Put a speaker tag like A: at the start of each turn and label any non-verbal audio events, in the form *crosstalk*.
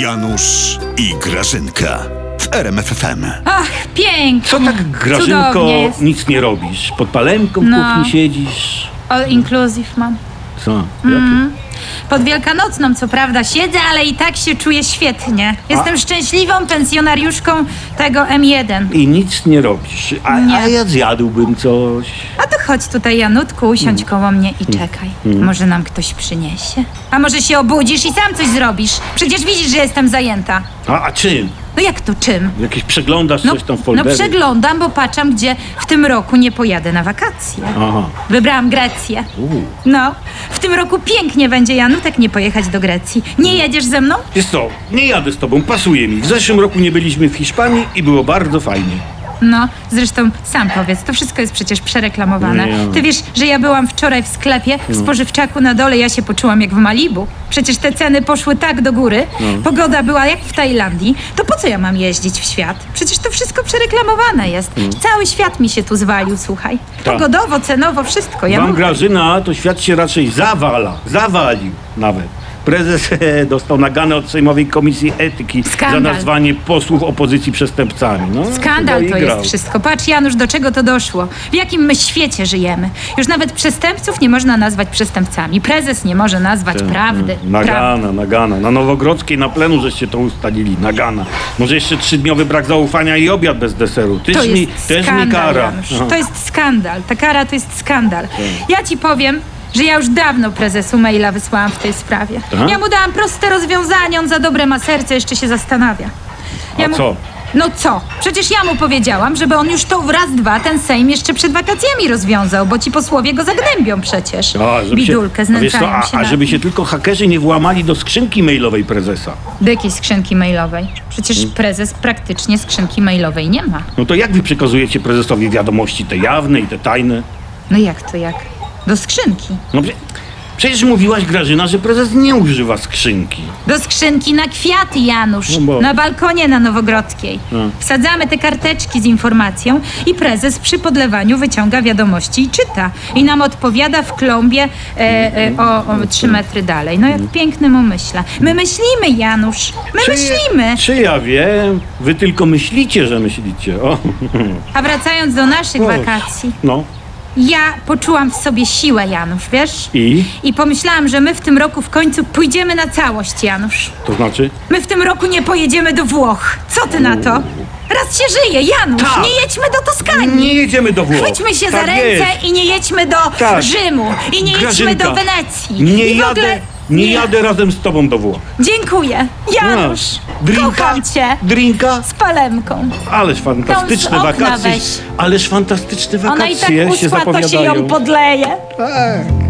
A: Janusz i Grażynka w RMFFM.
B: Ach, pięknie.
C: Co tak, Grażynko,
B: Mm. Cudownie jest.
C: nic nie robisz? Pod palemką w
B: No.
C: kuchni siedzisz?
B: All inclusive mam.
C: Co?
B: Mm.
C: Jakie?
B: Pod Wielkanocną, co prawda, siedzę, ale i tak się czuję świetnie. Jestem szczęśliwą pensjonariuszką tego M1.
C: I nic nie robisz. A,
B: Nie.
C: a ja zjadłbym coś.
B: A to chodź tutaj, Janutku, usiądź
C: Mm.
B: koło mnie i czekaj. Może nam ktoś przyniesie? A może się obudzisz i sam coś zrobisz? Przecież widzisz, że jestem zajęta.
C: A, a czym?
B: No jak to czym?
C: Jakieś przeglądasz coś tam w
B: no
C: folderze?
B: przeglądam, bo patrzę, gdzie w tym roku nie pojadę na wakacje.
C: Aha.
B: Wybrałam Grecję. No, w tym roku pięknie będzie, Janutek, nie pojechać do Grecji. Nie jedziesz ze mną?
C: Wiesz co, nie jadę z tobą, pasuje mi. W zeszłym roku nie byliśmy w Hiszpanii i było bardzo fajnie.
B: No, zresztą sam powiedz, to wszystko jest przecież przereklamowane.
C: Nie.
B: Ty wiesz, że ja byłam wczoraj w sklepie,
C: No.
B: w spożywczaku na dole, ja się poczułam jak w Malibu. Przecież te ceny poszły tak do góry,
C: No.
B: pogoda była jak w Tajlandii. To po co ja mam jeździć w świat? Przecież to wszystko przereklamowane jest. Cały świat mi się tu zwalił, słuchaj.
C: No. Tak.
B: Pogodowo, cenowo, wszystko. Ja
C: Wam
B: mówię.
C: Grażyna, to świat się raczej zawala. Zawalił nawet. Prezes *laughs* e, dostał nagany od Sejmowej Komisji Etyki
B: Skandal.
C: za nazwanie posłów opozycji przestępcami. No,
B: Skandal
C: chyba
B: to
C: i
B: jest
C: grał.
B: wszystko. Patrz, Janusz, do czego to doszło? W jakim my świecie żyjemy? Już nawet przestępców nie można nazwać przestępcami. Prezes nie może nazwać
C: Tak,
B: prawdy. Prawdy.
C: Nagana, nagana. Na Nowogrodzkiej na plenu żeście to ustalili. Nagana. Może jeszcze trzydniowy brak zaufania i obiad bez deseru. Tyż
B: To
C: mi,
B: jest
C: też mi
B: skandal,
C: kara.
B: Janusz.
C: Aha. Tak.
B: To jest skandal. Ta kara to jest skandal. Ja ci powiem, że ja już dawno prezesu maila wysłałam w tej sprawie.
C: Aha.
B: Ja mu dałam proste rozwiązanie, on za dobre ma serce, jeszcze się zastanawia. Ja
C: A
B: mu...
C: co?
B: No co? Przecież ja mu powiedziałam, żeby on już to w raz, dwa ten Sejm jeszcze przed wakacjami rozwiązał, bo ci posłowie go zagnębią przecież.
C: A, żeby
B: Bidulkę,
C: a, wiesz
B: znęcają
C: co, a,
B: się
C: a
B: nad
C: żeby
B: nim.
C: się tylko hakerzy nie włamali do skrzynki mailowej prezesa.
B: Do jakiej skrzynki mailowej? Przecież
C: Hmm?
B: prezes praktycznie skrzynki mailowej nie ma.
C: No to jak wy przekazujecie prezesowi wiadomości te jawne i te tajne?
B: No jak to jak? Do skrzynki.
C: No prze- przecież mówiłaś Grażyna, że prezes nie używa skrzynki.
B: Do skrzynki na kwiaty, Janusz.
C: No bo-
B: Na balkonie na Nowogrodzkiej. Wsadzamy te karteczki z informacją i prezes przy podlewaniu wyciąga wiadomości i czyta. I nam odpowiada w klombie e, e, o, o trzy metry dalej. No jak w pięknym umyśle. My myślimy, Janusz. My myślimy.
C: Czy ja wiem? Wy tylko myślicie, że myślicie. O,
B: A wracając do naszych
C: O.
B: wakacji.
C: no
B: Ja poczułam w sobie siłę, Janusz, wiesz?
C: i?
B: I pomyślałam, że my w tym roku w końcu pójdziemy na całość, Janusz.
C: To znaczy?
B: My w tym roku nie pojedziemy do Włoch. Co ty na to? Raz się żyje, Janusz,
C: Tak.
B: nie jedźmy do Toskanii.
C: Nie jedziemy do Włoch.
B: Chwyćmy się za
C: Tak
B: ręce
C: jest.
B: i nie jedźmy do
C: Tak.
B: Rzymu. I nie jedźmy
C: Grażynka,
B: do Wenecji.
C: Nie
B: I w
C: jadę,
B: ogóle...
C: nie jadę razem z tobą do Włoch.
B: Dziękuję. Janusz,
C: No. Drinka?
B: kocham cię.
C: Drinka?
B: Z palemką.
C: Ależ fantastyczne
B: okna
C: wakacje.
B: weź.
C: Ależ fantastyczne
B: Ona i tak
C: wakacje się
B: usła, to się
C: zapowiadają.
B: ją podleje.
C: tak.